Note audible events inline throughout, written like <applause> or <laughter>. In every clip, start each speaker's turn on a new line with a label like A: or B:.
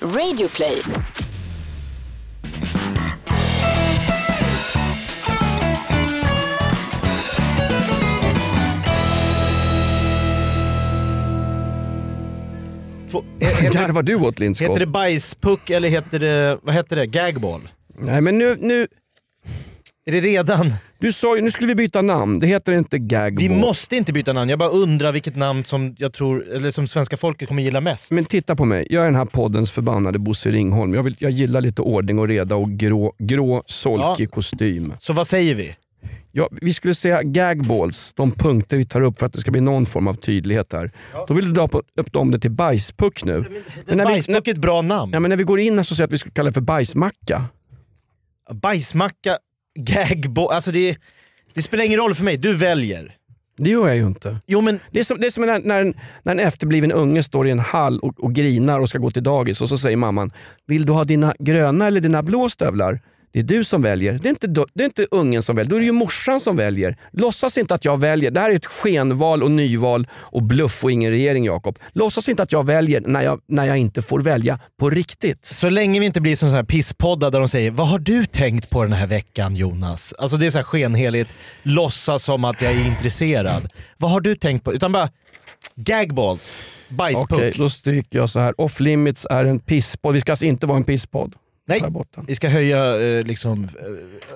A: Radioplay.
B: Få, he- <laughs>
C: Där
B: heter,
C: var du åt Lindskog.
B: heter det bajspuck eller heter det, vad heter det, gagball?
C: Nej men nu, nu,
B: Är det redan?
C: du sa ju, nu skulle vi byta namn. Det heter inte
B: Vi
C: gagball.
B: måste inte byta namn, jag bara undrar vilket namn som jag tror, eller som svenska folket kommer gilla mest.
C: Men titta på mig, jag är den här poddens förbannade Bosse Ringholm. Jag, vill, jag gillar lite ordning och reda och grå, grå solkig kostym.
B: Så vad säger vi?
C: Ja, vi skulle säga gagballs, de punkter vi tar upp för att det ska bli någon form av tydlighet här. Då vill du döpa, döpa om det till bajspuck nu. Men när, vi, när,
B: Bajspuck är ett bra namn.
C: ja, men när vi går in här så säger jag att vi skulle kalla det för bajsmacka.
B: Bajsmacka, gagball, alltså det, det spelar ingen roll för mig, du väljer.
C: Det gör jag ju inte.
B: Jo men
C: Det är som, det är som när, när, en, när en efterbliven unge står i en hall och, och grinar och ska gå till dagis och så säger mamman, vill du ha dina gröna eller dina blå stövlar? Det är du som väljer. Det är, inte, do- det är inte ungen som väljer, då är det ju morsan som väljer. Låtsas inte att jag väljer. Det här är ett skenval och nyval och bluff och ingen regering Jakob. Låtsas inte att jag väljer när jag, när jag inte får välja på riktigt.
B: Så länge vi inte blir som sån här pisspoddar där de säger “Vad har du tänkt på den här veckan Jonas?” Alltså det är så här skenheligt, låtsas som att jag är intresserad. Vad har du tänkt på? Utan bara gagballs, bajspuck.
C: Okej, då stryker jag så här. Off limits är en pisspodd. Vi ska alltså inte vara en pisspodd.
B: Nej.
C: Ta bort den.
B: Vi ska höja eh, liksom,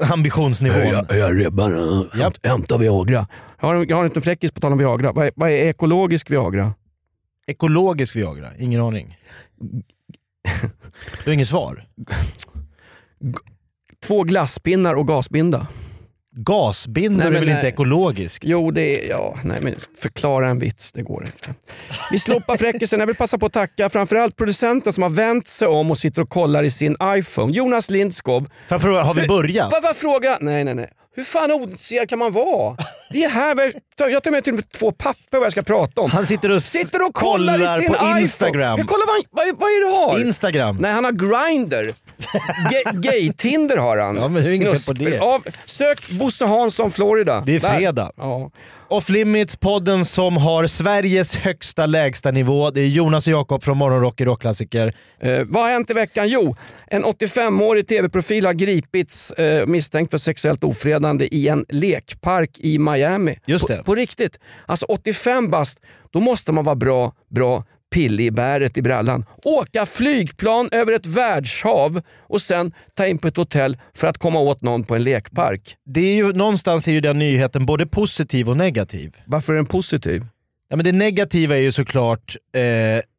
B: eh, ambitionsnivån.
C: höja ribban.
B: Japp.
C: Hämta Viagra. Jag har, en- jag har en liten fräckis på tal om Viagra. Vad är, vad är ekologisk Viagra?
B: Ekologisk Viagra, ingen aning. Du har inget svar?
C: Två glasspinnar och gasbinda.
B: Gasbindor
C: Nej,
B: är
C: men eh,
B: väl
C: nej.
B: inte ekologiskt?
C: Jo, det är... Ja, nej men förklara en vits, det går inte.
B: <laughs>
C: Vi slopar fräckisen. Jag vill passa på att tacka framförallt producenten som har vänt sig om och sitter och kollar i sin iPhone. Jonas Lindskov.
B: För, för, har vi börjat?
C: Vad var fråga? Nej, nej, nej. Hur fan oddsig kan man vara? Vi är här, vi har- jag tar med till och med två papper vad jag ska prata om.
B: Han sitter och,
C: Sitter och kollar, i sin
B: på
C: iPhone.
B: Instagram.
C: Jag kollar vad, han- vad, vad är det du har?
B: Instagram.
C: Nej, han har Grindr. Ge- Gay-Tinder har han.
B: Ja, men det är inget fel på
C: Snusk-
B: det.
C: Av, sök Bosse Hansson, Florida.
B: Det är
C: Där.
B: fredag.
C: Ja.
B: Off Limits, podden som har Sveriges högsta lägstanivå. Det är Jonas och Jakob från Morgonrock i Rockklassiker.
C: Eh, vad har hänt i veckan? Jo, en 85-årig tv-profil har gripits eh, misstänkt för sexuellt ofredande i en lekpark i Miami.
B: Just det.
C: På, på riktigt. Alltså 85 bast, då måste man vara bra, bra pillig i bäret i brallan. Åka flygplan över ett världshav och sen ta in på ett hotell för att komma åt någon på en lekpark.
B: Det är ju, någonstans är ju den nyheten både positiv och negativ.
C: Varför är den positiv?
B: Ja, men det negativa är ju såklart eh,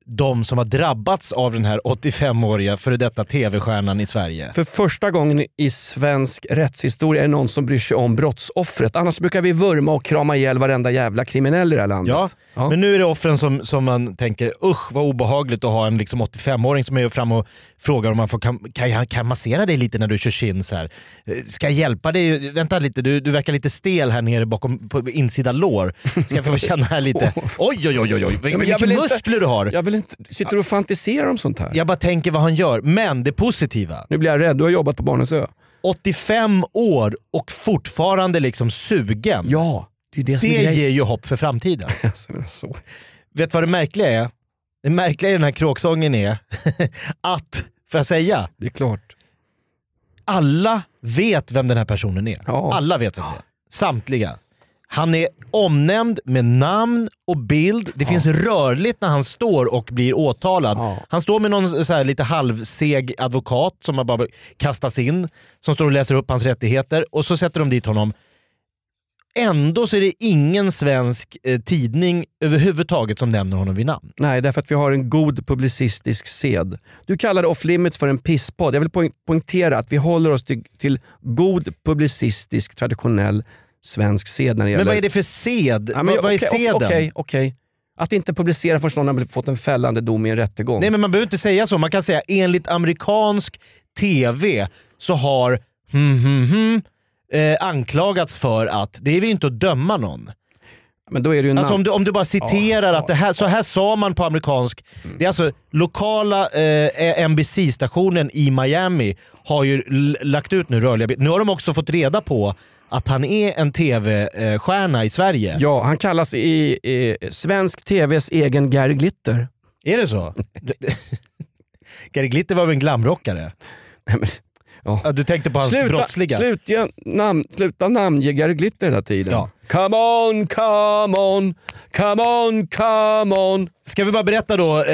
B: de som har drabbats av den här 85-åriga före detta tv-stjärnan i Sverige.
C: För första gången i svensk rättshistoria är det någon som bryr sig om brottsoffret. Annars brukar vi vurma och krama ihjäl varenda jävla kriminell i det här landet.
B: Ja,
C: Ja.
B: men nu är det offren som, som man tänker usch vad obehagligt att ha en liksom 85-åring som är fram och frågar om man får, kan, kan, jag- kan jag massera dig lite när du kör chins här. Eh, Ska jag hjälpa dig? Vänta lite, du, du verkar lite stel här nere bakom på insida lår. Ska jag få känna här
C: <laughs>
B: lite? Oj oj oj oj, oj.
C: men jag
B: vilka
C: vill inte-
B: muskler du har.
C: Jag vill inte, sitter du och fantiserar om sånt här?
B: Jag bara tänker vad han gör. Men det positiva,
C: Nu blir jag rädd, du har jobbat på Barnens Ö.
B: 85 år och fortfarande liksom sugen.
C: Ja, det är det som
B: Det
C: är grejen.
B: ger ju hopp för framtiden.
C: Alltså, men så.
B: Vet du vad det märkliga är? Det märkliga i den här kråksången är <laughs> att, får jag säga,
C: Det är klart.
B: alla vet vem den här personen är.
C: Ja.
B: Alla vet vem det är. Samtliga. Han är omnämnd med namn och bild. Det finns rörligt när han står och blir åtalad.
C: Ja.
B: Han står med någon så här lite halvseg advokat som har bara kastas in, som står och läser upp hans rättigheter och så sätter de dit honom. Ändå så är det ingen svensk eh, tidning överhuvudtaget som nämner honom vid namn.
C: Nej, därför att vi har en god publicistisk sed. Du kallar Off Limits för en pisspodd. Jag vill poäng- poängtera att vi håller oss till, till god publicistisk traditionell svensk sed när det gäller
B: Men vad är det för sed?
C: Ja, men
B: vad,
C: jag-
B: vad är
C: okej,
B: seden?
C: Okej, okej. Att inte publicera förrän någon har fått en fällande dom i en rättegång.
B: Nej men man behöver inte säga så. Man kan säga enligt amerikansk TV så har hmm, hmm, hmm, eh, anklagats för att, det är ju inte att döma någon.
C: Men då är det ju
B: Alltså
C: namn.
B: om du, om du bara citerar
C: Ja,
B: att det här, så här sa man på amerikansk, det är alltså lokala eh, NBC-stationen i Miami har ju l- lagt ut nu rörliga bilder. Nu har de också fått reda på att han är en TV-stjärna i Sverige.
C: Ja, han kallas i, i svensk TVs egen Gary Glitter.
B: Är det så? <laughs> Gary Glitter var väl en glamrockare?
C: Nej, men- ja.
B: Ja, Du tänkte på hans
C: Sluta,
B: brottsliga?
C: sluta, namn, sluta namnge Gary Glitter hela tiden.
B: Ja.
C: Come on, come on, come on, come on.
B: Ska vi bara berätta då, eh,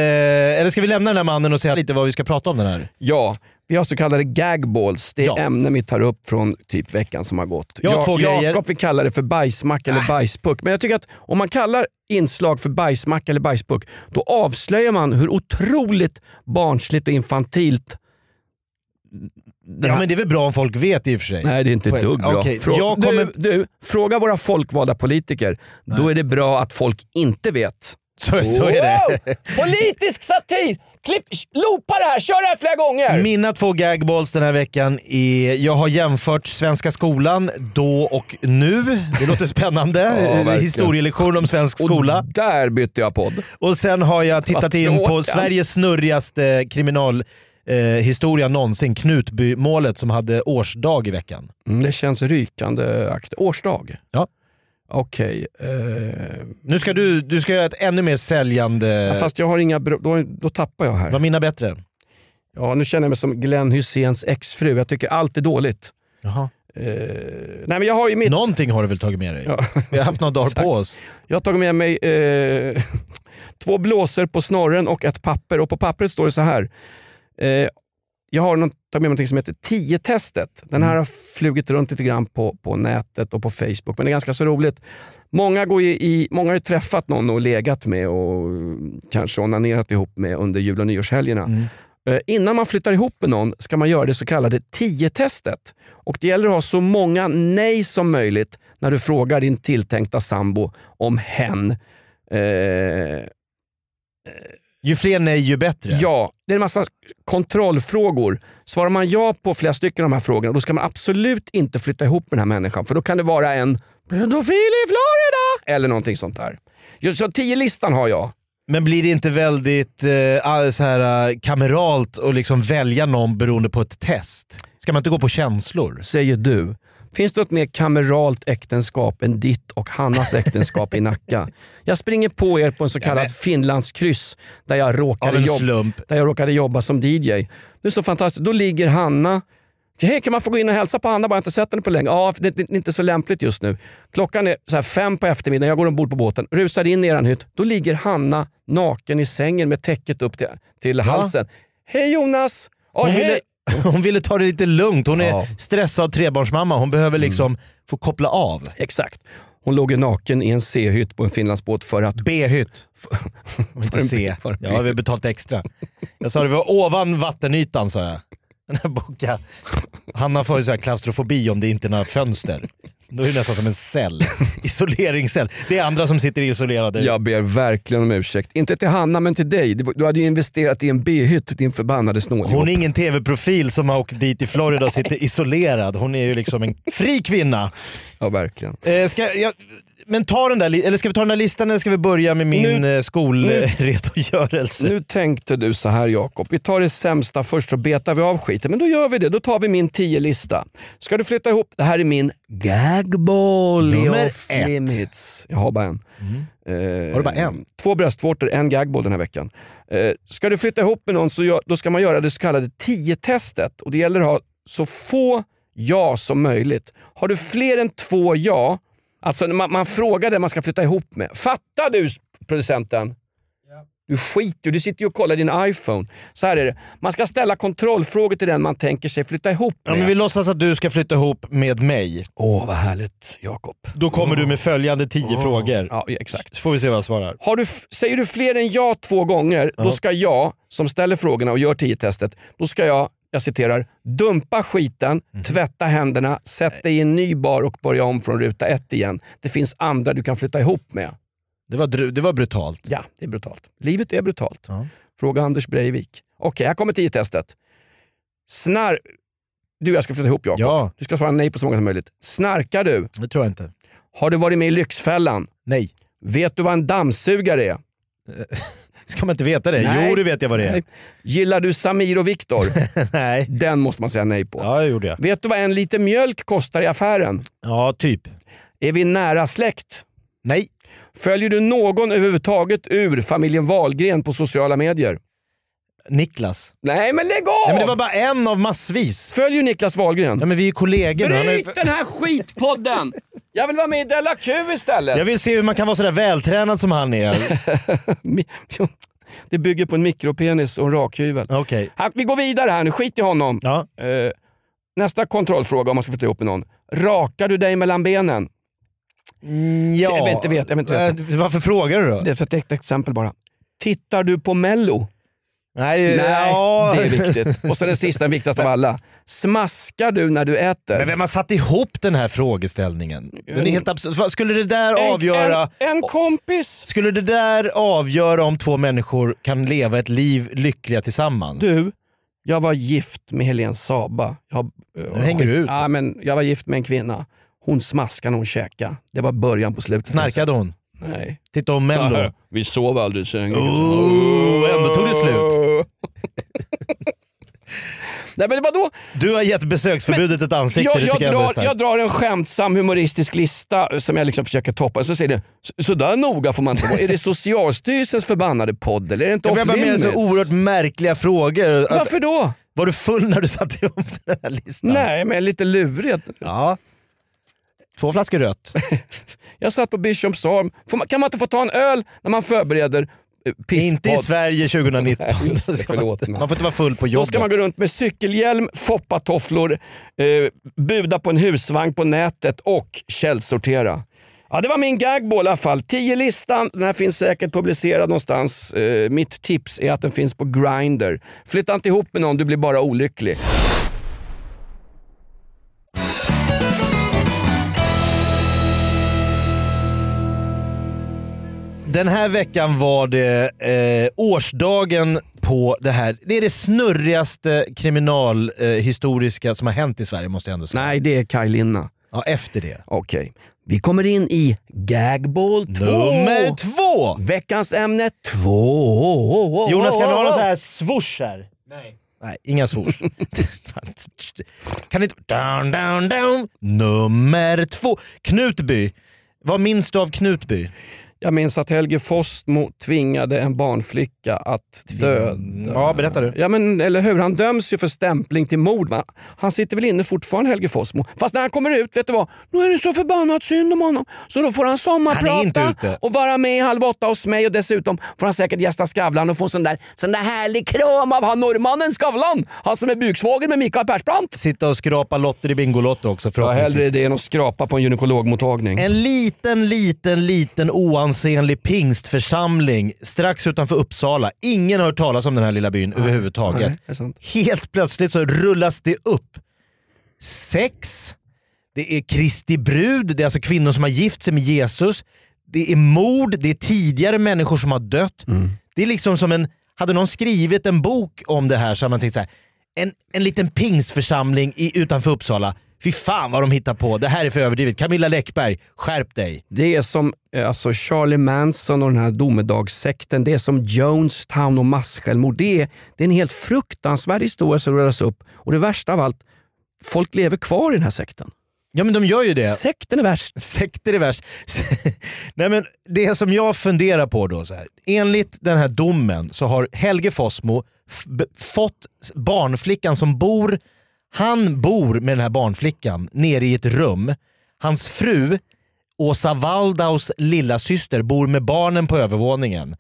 B: eller ska vi lämna den här mannen och säga lite vad vi ska prata om den här?
C: Ja, vi har så kallade gagballs. Det är
B: Ja.
C: ämnen vi tar upp från typ veckan som har gått.
B: Jag har två grejer. Äh.
C: Jakob vill kalla det för bajsmack eller bajspuck. Men jag tycker att om man kallar inslag för bajsmack eller bajspuck, då avslöjar man hur otroligt barnsligt och infantilt det
B: Ja
C: här-
B: men det är väl bra om folk vet i och för sig.
C: Nej det är inte ett dugg bra.
B: Okej,
C: Frå-
B: jag kommer-
C: du, du, fråga våra folkvalda politiker. Då är det bra att folk inte vet.
B: <laughs> Så, <laughs> så är det. <laughs>
C: Politisk satir! Klipp, loopa det här, kör det här flera gånger!
B: Mina två gagballs den här veckan är, jag har jämfört Svenska skolan då och nu. Det låter spännande.
C: verkligen.
B: Historielektion om svensk skola.
C: Och där bytte jag podd.
B: Och sen har jag tittat in på
C: Vattenåkan.
B: Sveriges snurrigaste kriminalhistoria eh, historia någonsin, Knutbymålet som hade årsdag i veckan.
C: Mm, det känns rykande akt. Årsdag?
B: Ja.
C: Okej. eh,
B: Nu ska du, du ska göra ett ännu mer säljande...
C: fast jag har inga... bro- Då, då tappar jag här.
B: Var mina bättre?
C: Ja, nu känner jag mig som Glenn Hyséns exfru. Jag tycker allt är dåligt.
B: Jaha.
C: Eh, nej men jag har ju mitt...
B: Någonting har du väl tagit med dig?
C: Ja.
B: Vi har haft några dagar på oss.
C: Jag har tagit med mig eh, <laughs> två blåsor på snorren och ett papper. Och på pappret står det så här. Eh, jag har något, tagit med mig något som heter 10-testet. Den här har flugit runt lite grann på, på nätet och på Facebook, men det är ganska så roligt. Många, går ju i, många har ju träffat någon och legat med och mm, kanske onanerat ihop med under jul och nyårshelgerna.
B: Mm.
C: Eh, Innan man flyttar ihop med någon ska man göra det så kallade 10-testet. Och Det gäller att ha så många nej som möjligt när du frågar din tilltänkta sambo om hen. Eh,
B: Ju fler nej ju bättre.
C: Ja, det är en massa kontrollfrågor. Svarar man ja på flera stycken av de här frågorna, då ska man absolut inte flytta ihop med den här människan. För då kan det vara en pedofil i Florida eller någonting sånt där. Ja, Så tio-listan har jag.
B: Men blir det inte väldigt eh, all- så här, eh, kameralt att liksom välja någon beroende på ett test? Ska man inte gå på känslor?
C: Säger du. Finns det något mer kameralt äktenskap än ditt och Hannas äktenskap i Nacka? Jag springer på er på en så kallad Finlandskryss där jag
B: Av
C: råkade
B: en
C: jobba.
B: slump.
C: där jag råkade jobba som DJ. Det är så fantastiskt. Då ligger Hanna. Hej, kan man få gå in och hälsa på Hanna bara? Jag har inte sett henne på länge. Ja, det, det, det är inte så lämpligt just nu. Klockan är så här fem på eftermiddagen, jag går ombord på båten, rusar in i eran hytt. Då ligger Hanna naken i sängen med täcket upp till, till halsen. Hej Jonas! Ja,
B: Hon ville,
C: hej.
B: <laughs> hon ville ta det lite lugnt. Hon är
C: Ja.
B: stressad trebarnsmamma. Hon behöver liksom få koppla av.
C: Exakt. Hon låg ju naken i en C-hytt på en Finlandsbåt för
B: <laughs>
C: att...
B: B-hytt. Inte
C: en
B: C.
C: by- för en
B: Jag har väl betalt extra. Jag sa det var ovan vattenytan sa jag. <laughs> Den här boka. Hanna får ju så här klaustrofobi om det inte är några fönster. Då är det nästan som en <laughs> cell. Isoleringscell. Det är andra som sitter isolerade.
C: Jag ber verkligen om ursäkt. Inte till Hanna, men till dig. Du hade ju investerat i en B-hytt, din förbannade snåljåp.
B: Hon är ingen tv-profil som har åkt dit i Florida och sitter isolerad. Hon är ju liksom en fri kvinna.
C: Ja, verkligen.
B: Eh, ska jag, men ta den där, li- eller ska vi ta den där listan eller ska vi börja med min eh, skolredogörelse?
C: Nu tänkte du så här Jakob, vi tar det sämsta först så betar vi av skiten. Men då gör vi det, då tar vi min 10-lista. Ska du flytta ihop, det här är min gagball i
B: Nummer
C: off
B: ett. Mm.
C: limits. Jag har bara en. Eh,
B: Har du bara en?
C: Två bröstvårtor, en gagball den här veckan. Eh, ska du flytta ihop med någon så gör, då ska man göra det så kallade 10-testet. Och det gäller att ha så få ja som möjligt. Har du fler än två ja, alltså när man, man frågar den man ska flytta ihop med. Fattar du producenten? Du skiter ju, du sitter ju och kollar din iPhone. Så här är det, man ska ställa kontrollfrågor till den man tänker sig flytta ihop
B: Ja,
C: med.
B: men vi låtsas att du ska flytta ihop med mig.
C: Åh vad härligt Jakob.
B: Då kommer du med följande tio frågor.
C: Ja, exakt.
B: Så får vi se vad jag svarar.
C: Har du, f- säger du fler än ja två gånger, då ska jag, som ställer frågorna och gör 10-testet, då ska jag, jag citerar, dumpa skiten,
B: Mhm.
C: tvätta händerna, sätt dig i en ny bar och börja om från ruta ett igen. Det finns andra du kan flytta ihop med.
B: Det var, dru- det var brutalt.
C: Ja, det är brutalt. Livet är brutalt.
B: Ja.
C: Fråga Anders Breivik. Okej, här kommer 10-testet. Snar... Du, jag ska flytta ihop Jakob.
B: Ja,
C: Du ska svara nej på så många som möjligt. Snarkar du?
B: det tror jag inte.
C: Har du varit med i Lyxfällan?
B: Nej.
C: Vet du vad en dammsugare är?
B: Ska man inte veta det?
C: Nej.
B: Jo, det vet jag vad det är.
C: Nej. Gillar du Samir
B: <laughs>
C: och Viktor?
B: Nej.
C: Den måste man säga nej på.
B: Ja, det gjorde jag.
C: Vet du vad en liter mjölk kostar i affären?
B: Ja, typ.
C: Är vi nära släkt?
B: Nej.
C: Följer du någon överhuvudtaget ur familjen Wahlgren på sociala medier?
B: Niklas.
C: Nej men lägg av!
B: Nej, men det var bara en av massvis.
C: Följer Niklas Wahlgren?
B: Ja, men vi är ju kollegor nu. Han har ju-
C: Bryt den här skitpodden! Jag vill vara med i Della Q istället!
B: Jag vill se hur man kan vara sådär vältränad som han är.
C: Mi- Det bygger på en mikropenis och en rakhyvel.
B: Okej.
C: Ha- Vi går vidare här nu, skit i honom.
B: Ja.
C: Eh, nästa kontrollfråga om man ska få ta ihop med någon. Rakar du dig mellan benen?
B: ja.
C: Jag vet inte, vet- jag vet inte.
B: Äh, Varför frågar du då?
C: Det är för ett äkta exempel bara. Tittar du på mello?
B: Nej, det-
C: Nej,
B: ja.
C: det är <laughs> viktigt. Och sen den sista, den viktigaste av alla. Smaskar du när du äter?
B: Men vem har satt ihop den här frågeställningen? Den är helt absurd. Skulle det där avgöra...
C: En, en, en kompis.
B: Skulle det där avgöra om två människor kan leva ett liv lyckliga tillsammans?
C: Du, jag var gift med Helen Saba. Jag,
B: Nu hänger du ut.
C: Ja, men jag var gift med en kvinna. Hon smaskade när hon käkade. Det var början på slutet.
B: Snarkade hon?
C: Nej.
B: Titta om Mello.
C: Vi sov aldrig i sängen.
B: Oh, ändå tog det slut.
C: <laughs> Nej men vadå?
B: Du har gett besöksförbudet ett ansikte,
C: Jag,
B: det
C: jag,
B: tycker jag, ändå är
C: drar,
B: starkt.
C: jag drar en skämtsam humoristisk lista som jag liksom försöker toppa. Så säger det, "Så- sådär noga får man inte vara.
B: <laughs>
C: Är det Socialstyrelsens förbannade podd eller är det inte
B: Jag
C: off
B: blir bara med
C: limits?
B: så oerhört märkliga frågor. Att-
C: Varför då?
B: Var du full när du satte ihop den här listan?
C: Nej men lite lurigt.
B: Ja. Två flaskor rött.
C: Jag satt på Bishops Arm. Får man, kan man inte få ta en öl när man förbereder eh,
B: <laughs>
C: pisspodd?
B: Inte i Sverige 2019.
C: Nej, <laughs> just det,
B: Ska man
C: förlåt
B: inte-
C: mig.
B: man får inte vara full på
C: Då
B: jobbet.
C: ska man gå runt med cykelhjälm, foppatofflor, eh, buda på en husvagn på nätet och källsortera. Ja, det var min gagball i alla fall. 10-listan, den här finns säkert publicerad någonstans. Eh, mitt tips är att den finns på Grindr. Flytta inte ihop med någon, du blir bara olycklig.
B: Den här veckan var det eh, årsdagen på det här. Det är det snurrigaste kriminalhistoriska som har hänt i Sverige måste jag ändå säga.
C: Nej, det är Kaj Linna.
B: Ja, efter det.
C: Okej, vi kommer in i gagball 2.
B: Nummer två!
C: Veckans ämne 2.
B: Jonas, kan du ha någon så här swoosh här? Nej. Nej, inga swoosh. <laughs> kan inte... Down, down, down. Nummer två. Knutby. Vad minns du av Knutby?
C: Jag minns att Helge Fossmo tvingade en barnflicka att döda.
B: Ja, berätta du.
C: Ja, men, eller hur? Han döms ju för stämpling till mord. Va? Han sitter väl inne fortfarande, Helge Fossmo. Fast när han kommer ut, vet du vad? Nu är det så förbannat synd om honom. Så då får han sommarprata
B: Han är inte ute.
C: och vara med i Halv åtta hos mig och dessutom får han säkert gästa Skavlan och få en sån där, sån där härlig kram av han norrmannen Skavlan. Han som är buksvåger med Mikael Persbrandt.
B: Sitta och skrapa lotter i Bingolotto också
C: Ja,
B: förhoppningsvis.
C: hellre det än att skrapa på en gynekologmottagning.
B: En liten, liten, liten oansenlig pingstförsamling strax utanför Uppsala. Ingen har hört talas om den här lilla byn överhuvudtaget.
C: det är sant.
B: Helt plötsligt så rullas det upp. Sex, det är Kristi brud, det är alltså kvinnor som har gift sig med Jesus. Det är mord, det är tidigare människor som har dött.
C: Mm.
B: Det är liksom som en, hade någon skrivit en bok om det här så hade man tänkt så här. En, en liten pingstförsamling i, utanför Uppsala. Fy fan vad de hittar på. Det här är för överdrivet. Camilla Läckberg, skärp dig.
C: Det är som eh, alltså Charlie Manson och den här domedagssekten. Det är som Jonestown och massjälvmord. Det är, det är en helt fruktansvärd historia som rullas upp. Och det värsta av allt, folk lever kvar i den här sekten.
B: Ja men de gör ju det.
C: Sekten är värst.
B: Sekter är värst. <laughs> Nej, men det som jag funderar på då, så här. enligt den här domen så har Helge Fossmo f- b- fått s- barnflickan som bor, han bor med den här barnflickan nere i ett rum. Hans fru, Åsa Waldaus lilla syster bor med barnen på övervåningen.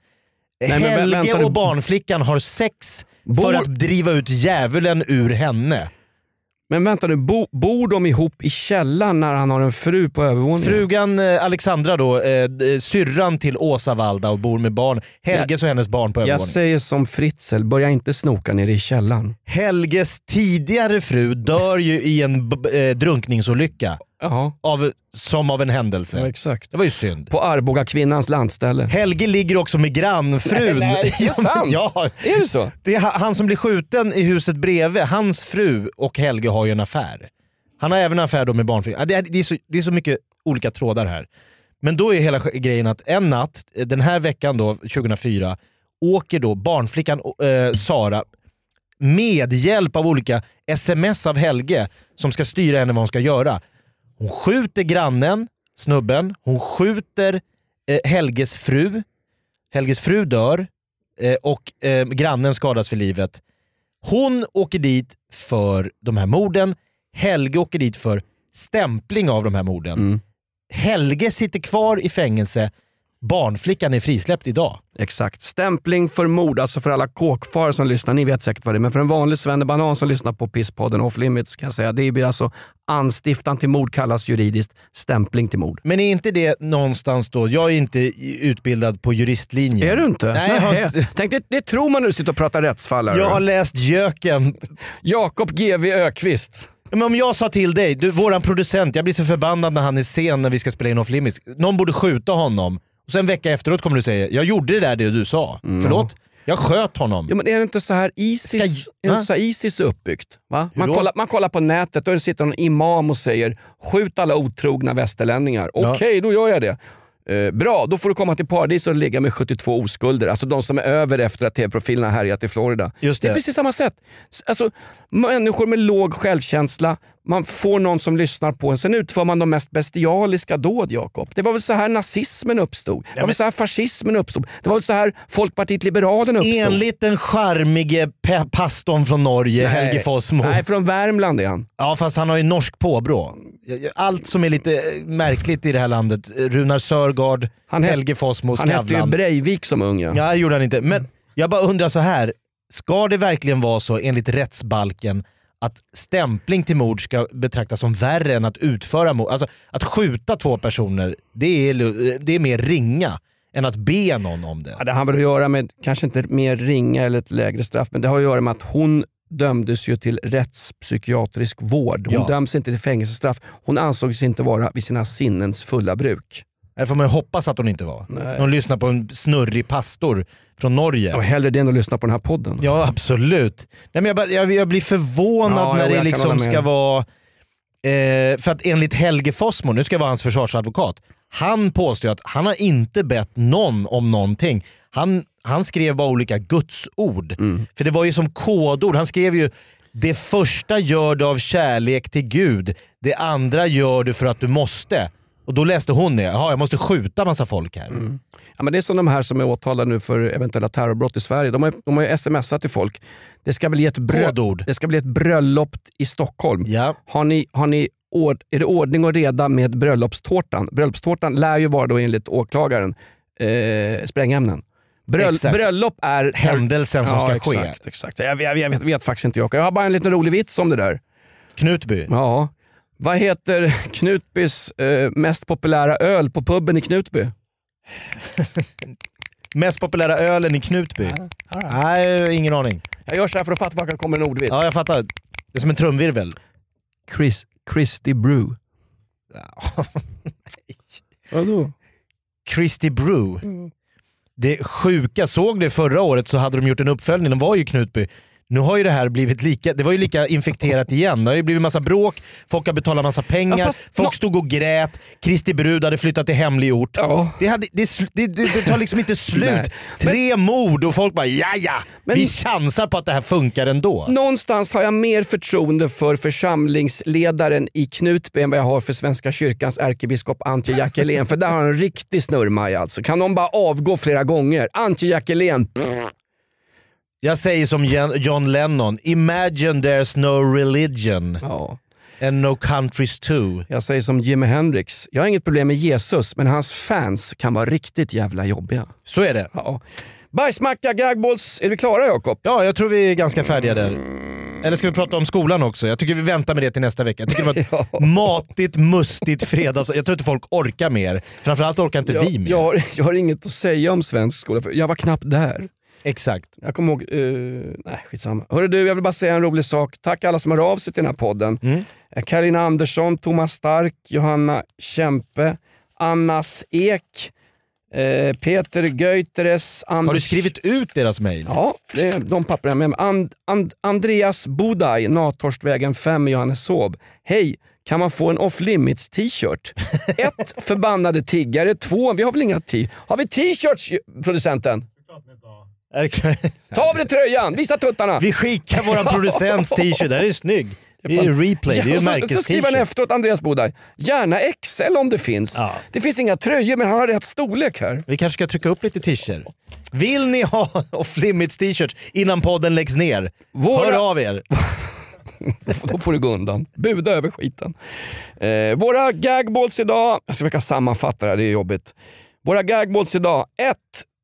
C: men vä-
B: Helge
C: vänta nu.
B: och barnflickan har sex
C: Bor-
B: för att driva ut djävulen ur henne.
C: Men vänta nu, bo, bor de ihop i källaren när han har en fru på övervåningen?
B: Frugan eh, Alexandra då, eh, d- syrran till Åsa Valda och bor med barn. Helges och hennes barn på
C: Jag
B: övervåningen.
C: säger som Fritzl, börja inte snoka nere i källaren.
B: Helges tidigare fru dör ju i en b- b- eh, drunkningsolycka,
C: Jaha,
B: av, som av en händelse.
C: exakt.
B: Det var ju synd.
C: På Arboga kvinnans landställe.
B: Helge ligger också med grannfrun.
C: det är
B: <laughs>
C: sant!
B: ja,
C: Är det så?
B: det är ha- han som blir skjuten i huset bredvid, hans fru och Helge har ju en affär. Han har även en affär då med barnflickan. Ja, Det, är- det, är så- det är så mycket olika trådar här. Men då är hela sk- grejen att en natt, eh, den här veckan då, 2004, åker då barnflickan eh, Sara med hjälp av olika sms av Helge som ska styra henne vad hon ska göra. Hon skjuter grannen, snubben, hon skjuter eh, Helges fru. Helges fru dör. eh, och eh, grannen skadas för livet. Hon åker dit för de här morden. Helge åker dit för stämpling av de här morden.
C: Mm.
B: Helge sitter kvar i fängelse. Barnflickan är frisläppt idag.
C: Exakt. Stämpling för mord, alltså för alla kåkfaror som lyssnar, ni vet säkert vad det är, men för en vanlig svennebanan som lyssnar på pisspodden off limits kan jag säga, det blir alltså anstiftan till mord kallas juridiskt, stämpling till mord.
B: Men är inte det någonstans då, jag är inte i- utbildad på juristlinjen.
C: Är du inte?
B: Nej, jag har,
C: Nähä. Tänk, det, det tror man när du sitter och pratar rättsfall. här.
B: jag har läst Jöken.
C: Jakob GV Ökvist.
B: Men om jag sa till dig, du, våran producent, jag blir så förbannad när han är sen när vi ska spela in off limits. Någon borde skjuta honom. Och sen en vecka efteråt kommer du säga, jag gjorde det där det du sa. Förlåt? Jag sköt honom.
C: Mm. Ja, men är det inte så här ISIS,
B: Ska-
C: är det
B: va?
C: inte så här ISIS är uppbyggt? Va? Man,
B: då?
C: kollar, man kollar på nätet och det sitter någon imam och säger skjut alla otrogna västerlänningar. Okej, då gör jag det. Eh, bra, då får du komma till paradis och ligga med 72 oskulder. Alltså de som är över efter att tv-profilerna härjat i Florida.
B: Just
C: är
B: det.
C: precis samma sätt. S- Alltså, människor med låg självkänsla, man får någon som lyssnar på en. Sen utför man de mest bestialiska dåd, Jakob. Det var väl så här nazismen uppstod. Det var väl så här fascismen uppstod. Det var väl så här Folkpartiet Liberalerna uppstod.
B: Enligt den charmige pe- pastorn från Norge, Helge Fossmo.
C: Nej, från Värmland är han.
B: Ja, fast han har ju norsk påbrå. Allt som är lite eh, märkligt i det här landet. eh, Runar Sörgard,
C: Han het-
B: Helge Fossmo,
C: Han hette ju
B: Skavlan.
C: Breivik som ung ja.
B: Ja, det gjorde han inte. Men jag bara undrar så här. Ska det verkligen vara så enligt rättsbalken att stämpling till mord ska betraktas som värre än att utföra mord? Alltså att skjuta två personer, det är, lu- det är mer ringa än att be någon om det.
C: Ja, Det har väl att göra med, kanske inte mer ringa eller ett lägre straff, men det har att göra med att hon dömdes ju till rättspsykiatrisk vård. Hon
B: Ja.
C: döms inte till fängelsestraff. Hon ansågs inte vara vid sina sinnens fulla bruk.
B: Det får man ju hoppas att hon inte var. Hon lyssnar på en snurrig pastor från Norge.
C: Och hellre det än att lyssna på den här podden.
B: Ja, absolut. Nej, men jag, bara- jag, jag blir förvånad
C: Ja,
B: när
C: jag- jag
B: det
C: kan
B: liksom
C: hålla med
B: ska
C: dig.
B: vara... Eh, för att enligt Helge Fossmo, nu ska jag vara hans försvarsadvokat, han påstår ju att han har inte bett någon om någonting. Han, han skrev bara olika gudsord.
C: Mm.
B: För det var ju som kodord. Han skrev ju “Det första gör du av kärlek till Gud, det andra gör du för att du måste”. Och då läste hon det. Jaha, jag måste skjuta massa folk här.
C: Ja, men det är som de här som är åtalade nu för eventuella terrorbrott i Sverige. De har, de har ju smsat till folk. Det ska bli ett, brö-
B: Kodord.
C: det ska bli ett bröllop i Stockholm.
B: Ja.
C: Har ni, har ni ord, är det ordning och reda med bröllopstårtan? Bröllopstårtan lär ju vara då enligt åklagaren eh, sprängämnen. Bröll,
B: Exakt.
C: bröllop är...
B: Händelsen som ska
C: exakt,
B: ske.
C: Exakt. Jag, jag, jag vet, vet faktiskt inte Jakob. Jag har bara en liten rolig vits om det där.
B: Knutby.
C: Ja. Vad heter Knutbys eh, mest populära öl på puben i Knutby?
B: Mest populära ölen i Knutby? Nej, ingen aning.
C: Jag gör så här för att fatta var det kommer en ordvits.
B: Ja, jag fattar. Det är som en trumvirvel.
C: Chris, Christy Brew. Vadå?
B: Christy Brew.
C: Mm.
B: Det sjuka, såg det förra året så hade de gjort en uppföljning, de var ju i Knutby. Nu har ju det här blivit lika, det var ju lika infekterat igen. Det har ju blivit massa bråk, folk har betalat massa pengar,
C: Ja, fast
B: folk
C: nå-
B: stod och grät, Christy Brud hade flyttat till hemlig ort.
C: Ja.
B: Det, hade, det, sl- det, det, det tar
C: <laughs>
B: liksom inte slut.
C: Nej.
B: Tre mord och folk bara ja ja, vi chansar på att det här funkar ändå.
C: Någonstans har jag mer förtroende för församlingsledaren i Knutby än vad jag har för Svenska kyrkans ärkebiskop Antje Jackelén. för där har han en riktig snurrmaj alltså. Kan någon bara avgå flera gånger? Antje Jackelén.
B: Jag säger som Jan- John Lennon, imagine there's no religion
C: Ja.
B: and no countries too.
C: Jag säger som Jimi Hendrix. Jag har inget problem med Jesus, men hans fans kan vara riktigt jävla jobbiga.
B: Så är det.
C: Ja. Bajsmacka, gagballs. Är vi klara Jakob?
B: Ja, jag tror vi är ganska färdiga där. Eller ska vi prata om skolan också? Jag tycker vi väntar med det till nästa vecka. Jag tycker det <laughs> var ett matigt, mustigt fredags... Jag tror inte folk orkar mer. Framförallt orkar inte vi mer.
C: jag, har, jag har inget att säga om svensk skola, för jag var knappt där.
B: Exakt.
C: Jag kommer ihåg, eh, nej skitsamma. Hörru du, jag vill bara säga en rolig sak. Tack alla som hör av sig till den här podden. Mm. Karina Andersson, Thomas Stark, Johanna Kempe, Annas Ek, eh, Peter Göiteres, Anders...
B: Har du skrivit ut deras mejl?
C: Ja, det är de papper jag har med mig. And, and, Andreas Bodaj, Natorstvägen 5 i Johanneshov. Hej! Kan man få en off
B: <laughs>
C: limits t-shirt? Ett, förbannade tiggare. Två, vi har väl inga t Har vi t-shirts, producenten?
B: Är det klart?
C: Ta av dig tröjan, visa tuttarna!
B: <laughs> Vi skickar våran producents t-shirt. Den är snygg. Det är ju replay, det är ju
C: och så, så skriver han
B: märkes-t-shirt.
C: efteråt, Andreas Bodaj, gärna XL om det finns.
B: Ja.
C: Det finns inga tröjor men han har rätt
B: <laughs>
C: storlek här.
B: Vi kanske ska trycka upp lite t-shirts. Vill ni ha <laughs> off limits t-shirts innan podden läggs ner?
C: Våra-
B: Hör av er!
C: Då får du gå undan. Buda över skiten. Eh, våra gagballs idag, jag ska försöka sammanfatta det här, det är jobbigt. Våra gagballs idag. 1.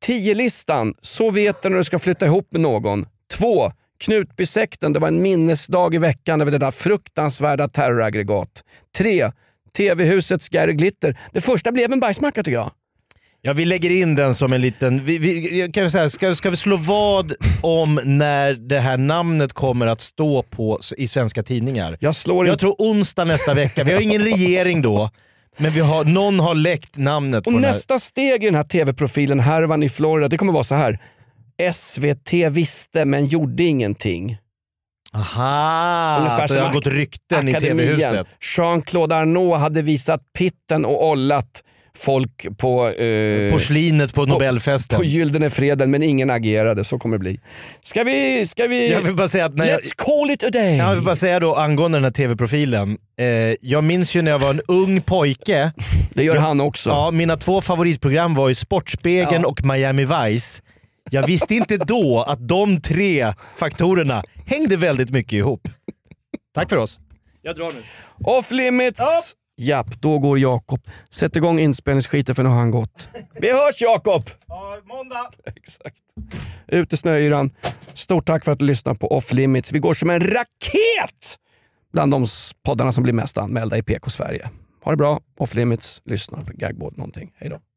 C: 10-listan, så vet du när du ska flytta ihop med någon. 2. Knutbysekten, det var en minnesdag i veckan över det där fruktansvärda terroraggregat. 3. TV-husets Gary Glitter. Det första blev en bajsmacka tycker jag.
B: Ja, vi lägger in den som en liten... Vi, vi, jag kan väl säga, ska, ska vi slå vad om när det här namnet kommer att stå på s- i svenska tidningar?
C: Jag slår
B: Jag
C: inte-
B: tror onsdag nästa vecka. Vi har ingen regering då, men vi har, någon har läckt namnet.
C: Och
B: på
C: nästa steg i den här tv-profilen, härvan i Florida, det kommer vara så här. SVT visste men gjorde ingenting.
B: den här. Aha!
C: Ungefär
B: Att det
C: som
B: har gått rykten i
C: Akademien.
B: TV-huset.
C: Jean-Claude Arnault hade visat pitten och ollat folk på, eh, på,
B: Porslinet på Nobelfesten.
C: Gyldene Freden men ingen agerade. Så kommer det bli. Ska vi... Ska vi
B: jag vill bara säga att när jag,
C: Let's call it a day!
B: Jag vill bara säga då angående den här TV-profilen. Eh, jag minns ju när jag var en ung pojke.
C: det gör han också.
B: Ja, mina två favoritprogram var ju Sportspegeln
C: Ja.
B: och Miami Vice. Jag visste inte då att de tre faktorerna hängde väldigt mycket ihop. Tack för oss. Jag drar nu.
C: Off limits! Japp, då går Jakob. Sätt igång inspelningsskiten för nu har han gått. Vi hörs Jakob!
B: måndag!
C: <laughs> Exakt. Ut i snöyran. Stort tack för att du lyssnar på Off Limits. Vi går som en raket bland de s- poddarna som blir mest anmälda i PK Sverige. Ha det bra. Off Limits. Lyssna på Gagboard någonting. Hej då.